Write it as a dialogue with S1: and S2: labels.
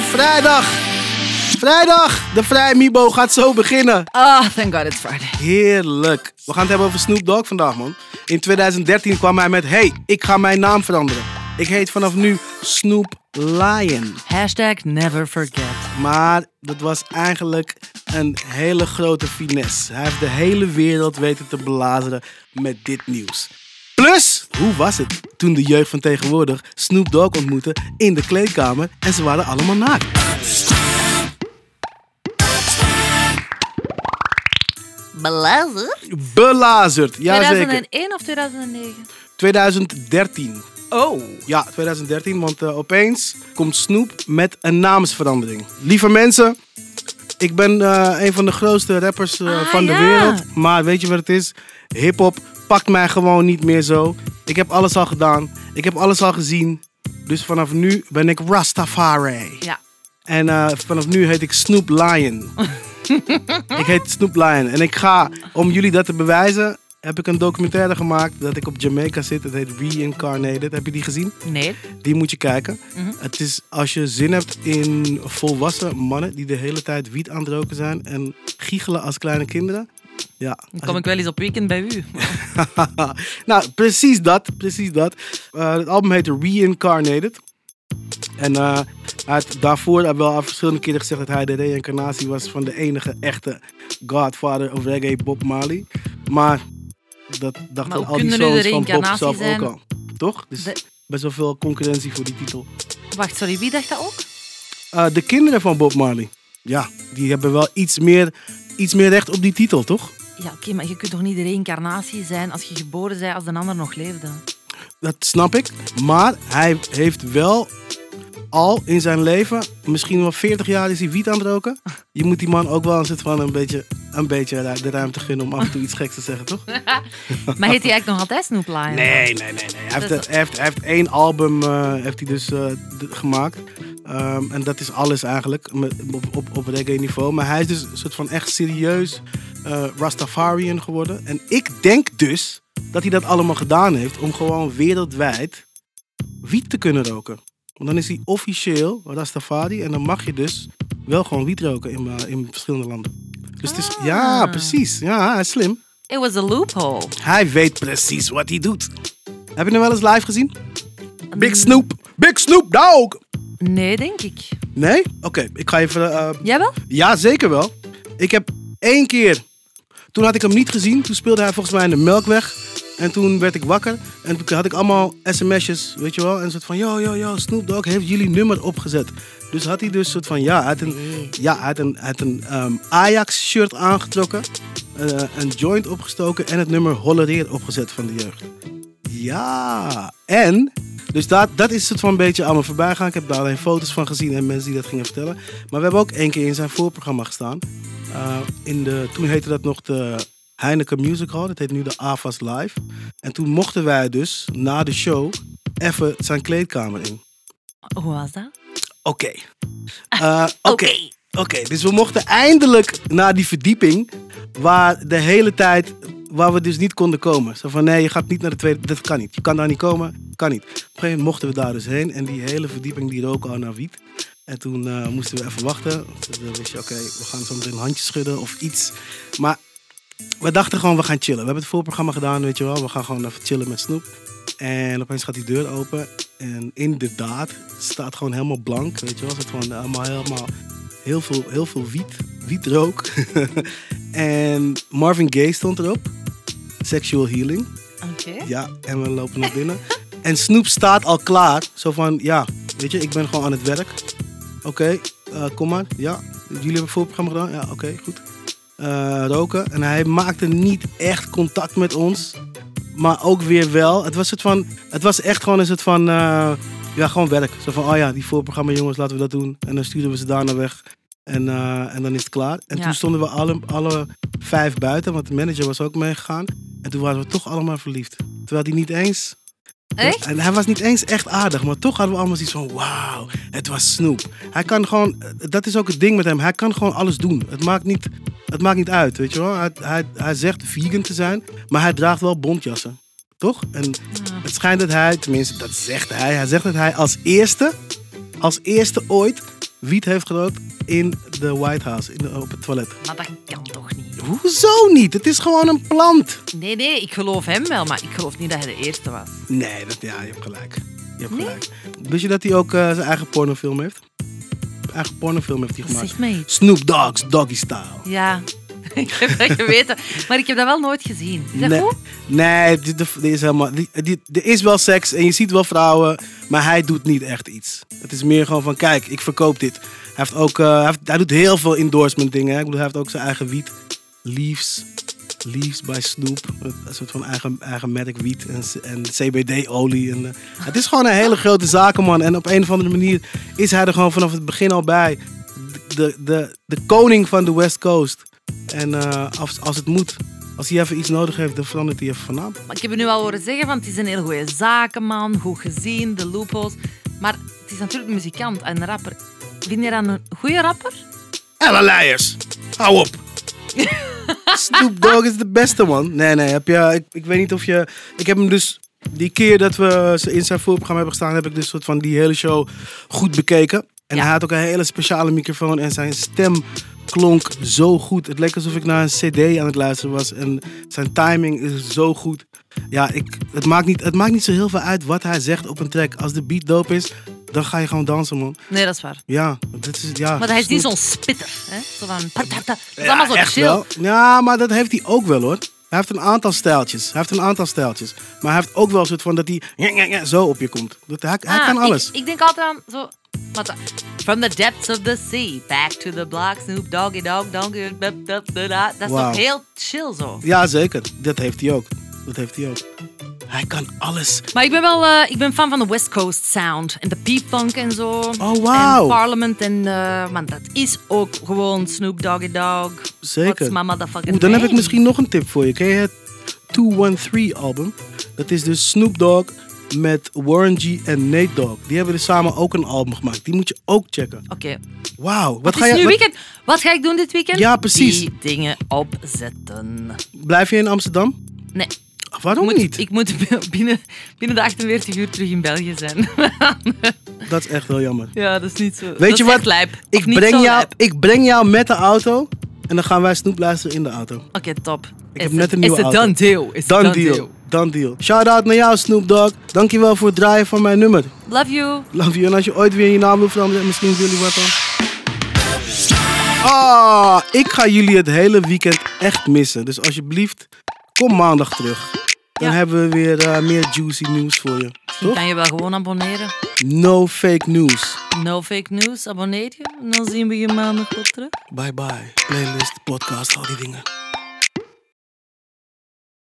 S1: Vrijdag. Vrijdag. De Vrij Mibo gaat zo beginnen.
S2: Oh, thank God it's Friday.
S1: Heerlijk. We gaan het hebben over Snoop Dogg vandaag, man. In 2013 kwam hij met... Hey, ik ga mijn naam veranderen. Ik heet vanaf nu Snoop Lion.
S2: Hashtag never forget.
S1: Maar dat was eigenlijk een hele grote finesse. Hij heeft de hele wereld weten te belazeren met dit nieuws. Plus, hoe was het toen de jeugd van tegenwoordig Snoop Dogg ontmoette in de kleedkamer en ze waren allemaal naakt?
S2: Belazer?
S1: Belazerd, jazeker.
S2: 2001 of 2009?
S1: 2013.
S2: Oh.
S1: Ja, 2013, want eh, opeens komt Snoop met een naamsverandering. Lieve mensen, ik ben eh, een van de grootste rappers eh,
S2: Ah,
S1: van de
S2: ja.
S1: wereld. Maar weet je wat het is? Hip-hop pakt mij gewoon niet meer zo. Ik heb alles al gedaan, ik heb alles al gezien. Dus vanaf nu ben ik Rastafari.
S2: Ja.
S1: En eh, vanaf nu heet ik Snoop Lion. ik heet Snoop Lion. En ik ga, om jullie dat te bewijzen, heb ik een documentaire gemaakt dat ik op Jamaica zit. Het heet Reincarnated. Heb je die gezien?
S2: Nee.
S1: Die moet je kijken.
S2: Mhm.
S1: Het is als je zin hebt in volwassen mannen die de hele tijd wiet aan het roken zijn en giechelen als kleine kinderen. Ja.
S2: Dan
S1: als
S2: kom ik wel eens op weekend bij u.
S1: je- nou, precies dat. Precies dat. Eh, het album heet Reincarnated. En eh, hij had daarvoor al wel al verschillende keren gezegd dat hij de reïncarnatie was van de enige echte godfather of reggae Bob Marley. Maar dat
S2: Maar
S1: dachten
S2: hoe
S1: al die
S2: kunnen nu de
S1: zoons van Bob
S2: reïncarnatie
S1: zelf
S2: zijn?
S1: ook al. Toch? Dus
S2: De-
S1: best wel veel concurrentie voor die titel.
S2: Wacht, sorry, wie dacht dat ook?
S1: Eh, de kinderen van Bob Marley. Ja, die hebben wel iets meer, iets meer recht op die titel, toch?
S2: Ja, oké, maar je kunt toch niet de reïncarnatie zijn als je geboren bent als een ander nog leefde?
S1: Dat snap ik. Maar hij heeft wel al in zijn leven, misschien wel 40 jaar is hij wiet aan het roken. Je moet die man ook wel een soort van een beetje, een beetje ru- de ruimte gunnen om af en toe iets geks te zeggen, toch?
S2: Maar heet hij eigenlijk nog altijd Snoop
S1: Nee,
S2: Lion?
S1: nee, nee. nee. Hij, heeft, hij, heeft, hij heeft één album eh, heeft hij dus, eh, d- gemaakt. Ehm, en dat is alles eigenlijk met- op, op, op reggae niveau. Maar hij is dus een soort van echt serieus eh, Rastafarian geworden. En ik denk dus dat hij dat allemaal gedaan heeft om gewoon wereldwijd wiet te kunnen roken. Want dan is hij officieel Rastafari en dan mag je dus wel gewoon wiet roken in, eh, in verschillende landen. Dus het is, ja,
S2: Ah.
S1: precies. Ja, hij is slim.
S2: It was a loophole.
S1: Hij weet precies wat hij doet. Heb je hem wel eens live gezien? Big Snoop. Big Snoop Dogg.
S2: Nee, denk ik.
S1: Nee? Oké, ik ga even... eh,
S2: Jij wel?
S1: ja, zeker wel. Ik heb één keer... Toen had ik hem niet gezien. Toen speelde hij volgens mij in de Melkweg. En toen werd ik wakker. En toen had ik allemaal sms'jes, weet je wel. En een soort van, yo, yo, yo, Snoop Dogg heeft jullie nummer opgezet. Dus had hij dus een soort van, ja, hij had een,
S2: Nee.
S1: ja, hij had een, hij had een ehm, Ajax-shirt aangetrokken. eh, een joint opgestoken en het nummer Hollereer opgezet van de jeugd. Ja, en. Dus dat, dat is het van een beetje aan me voorbij gaan. Ik heb daar alleen foto's van gezien en mensen die dat gingen vertellen. Maar we hebben ook één keer in zijn voorprogramma gestaan. Eh, in de, toen heette dat nog de Heineken Music Hall. Dat heet nu de AFAS Live. En toen mochten wij dus na de show even zijn kleedkamer in.
S2: Hoe was dat?
S1: Oké. Eh, Oké. Oké, dus we mochten eindelijk naar die verdieping waar de hele tijd, waar we dus niet konden komen. Zo van nee, je gaat niet naar de tweede, dat kan niet. Je kan daar niet komen, kan niet. Op een gegeven moment mochten we daar dus heen en die hele verdieping die rook al naar wiet. En toen eh, moesten we even wachten. Toen wist je, oké, we gaan zo meteen een handje schudden of iets. Maar we dachten gewoon, we gaan chillen. We hebben het voorprogramma gedaan, weet je wel. We gaan gewoon even chillen met Snoep. En opeens gaat die deur open. En inderdaad, het staat gewoon helemaal blank, weet je wel. Het gewoon allemaal helemaal... Heel veel, heel veel wiet, wietrook. en Marvin Gaye stond erop. Sexual Healing.
S2: Oké.
S1: Ja, en we lopen naar binnen. en Snoep staat al klaar. Zo van, ja, weet je, ik ben gewoon aan het werk. Oké, eh, kom maar. Ja, jullie hebben voorprogramma gedaan. Ja, oké, goed. Eh, roken. En hij maakte niet echt contact met ons. Maar ook weer wel. Het was, het van, het was echt gewoon een soort van... eh, ja, gewoon werk. Zo van, oh ja, die voorprogramma jongens, laten we dat doen. En dan sturen we ze daarna weg. En, eh, en dan is het klaar. En
S2: Ja.
S1: toen stonden we alle, alle vijf buiten, want de manager was ook meegegaan. En toen waren we toch allemaal verliefd. Terwijl die niet eens...
S2: Echt?
S1: En hij was niet eens echt aardig, maar toch hadden we allemaal zoiets van: wauw, het was Snoep. Hij kan gewoon, dat is ook het ding met hem, hij kan gewoon alles doen. Het maakt niet, het maakt niet uit, weet je wel. Hij, hij, hij zegt vegan te zijn, maar hij draagt wel bontjassen, toch? En het schijnt dat hij, tenminste, dat zegt hij, hij zegt dat hij als eerste, als eerste ooit wiet heeft gerookt in de White House, in de- op het toilet.
S2: Maar dat kan toch niet?
S1: Hoezo niet? Het is gewoon een plant.
S2: Nee, nee, ik geloof hem wel, maar ik geloof niet dat hij de eerste was.
S1: Nee, dat, ja, je hebt gelijk. Je hebt
S2: Nee?
S1: gelijk. Wist je dat hij ook eh, zijn eigen pornofilm heeft? Eigen pornofilm heeft hij
S2: Dat
S1: gemaakt.
S2: zegt mij iets.
S1: Snoop Dogg's Doggy Style.
S2: Ja, ik heb dat geweten. Maar ik heb dat wel nooit gezien. Is dat
S1: Nee.
S2: goed?
S1: Nee, die- die- die is helemaal, die, die- er is wel seks en je ziet wel vrouwen, maar hij doet niet echt iets. Het is meer gewoon van, kijk, ik verkoop dit. Hij, heeft ook, eh, hij, heeft- hij doet heel veel endorsement dingen. Hè. Ik bedoel, hij heeft ook zijn eigen wiet. Leaves. Leaves by Snoop. Een soort van eigen, eigen medic wiet en, c- en CBD-olie. En, eh, het is gewoon een hele grote zakenman. En op een of andere manier is hij er gewoon vanaf het begin al bij. De, de, de koning van de West Coast. En eh, als, als het moet, als hij even iets nodig heeft, dan verandert hij even van naam.
S2: Maar ik heb het nu al horen zeggen, want het is een heel goede zakenman, goed gezien, de loopholes. Maar het is natuurlijk een muzikant en een rapper. Vind je dan een goede rapper?
S1: Ella Leijers, hou op. Snoop Dogg is de beste man. Nee, nee, heb je, ik, ik weet niet of je... Ik heb hem dus... Die keer dat we ze in zijn voorprogramma hebben gestaan... heb ik dus soort van die hele show goed bekeken. En
S2: Ja.
S1: hij had ook een hele speciale microfoon. En zijn stem klonk zo goed. Het leek alsof ik naar een cd aan het luisteren was. En zijn timing is zo goed. Ja, ik, het, maakt niet, het maakt niet zo heel veel uit wat hij zegt op een track. Als de beat dope is, dan ga je gewoon dansen, man.
S2: Nee, dat is waar.
S1: Ja, dat is... Ja,
S2: Maar hij is niet
S1: Snoop-
S2: zo'n spitter. Hè? Zo van... pat, pat, pat. Dat is allemaal zo
S1: echt
S2: chill.
S1: wel. Ja, maar dat heeft hij ook wel hoor. Hij heeft een aantal stijltjes. Hij heeft een aantal stijltjes. Maar hij heeft ook wel een soort van dat hij zo op je komt. Dat, hij hij
S2: Ah,
S1: kan alles.
S2: Ik, ik denk altijd aan zo... wat dat- From the depths of the sea, back to the block, Snoop Doggy Dogg, donkey, bup, bup, da, da. Dat is
S1: Wauw.
S2: toch heel chill zo.
S1: Ja, zeker. Dat heeft hij ook. Dat heeft hij ook. Hij kan alles.
S2: Maar ik ben wel eh, ik ben fan van de West Coast Sound. En de P-Funk en zo.
S1: Oh, wauw.
S2: En Parliament en... eh, want dat is ook gewoon Snoop Doggy Dogg.
S1: Zeker.
S2: What's my motherfucking
S1: Oeh, dan heb ik
S2: name?
S1: misschien nog een tip voor je. Ken je het 213 album? Dat is dus Snoop Dogg met Warren G en Nate Dogg. Die hebben dus samen ook een album gemaakt. Die moet je ook checken.
S2: Oké.
S1: Wauw. Wat
S2: Het
S1: ga
S2: is
S1: je...
S2: nu
S1: wat-
S2: weekend. Wat ga ik doen dit weekend?
S1: Ja, precies.
S2: Die dingen opzetten.
S1: blijf je in Amsterdam?
S2: Nee.
S1: Waarom
S2: moet,
S1: niet?
S2: Ik moet b- binnen, binnen de 48 uur terug in België zijn.
S1: Dat is echt wel jammer.
S2: ja, dat is niet zo...
S1: Weet
S2: dat
S1: je
S2: is
S1: wat?
S2: echt lijp. Of
S1: Ik
S2: niet
S1: breng,
S2: zo
S1: jou,
S2: lijp.
S1: ik breng jou met de auto en dan gaan wij snoep luisteren in de auto.
S2: Oké, top. Ik
S1: heb net een nieuwe
S2: Is het
S1: auto.
S2: dan deal? Is het
S1: Dan
S2: dan
S1: deal. Dan deal. Shout out naar jou, Snoop Dogg. Dankjewel voor het draaien van mijn nummer.
S2: Love you.
S1: Love you. En als je ooit weer je naam wil veranderen, misschien jullie wat dan. Ah, ik ga jullie het hele weekend echt missen. Dus alsjeblieft, kom maandag terug. Dan
S2: Ja.
S1: hebben we weer eh, meer juicy nieuws voor je.
S2: Je
S1: Toch?
S2: kan je wel gewoon abonneren.
S1: No fake news.
S2: No fake news, abonneer je. En dan zien we je maandag wel terug.
S1: Bye bye. Playlist, podcast, al die dingen.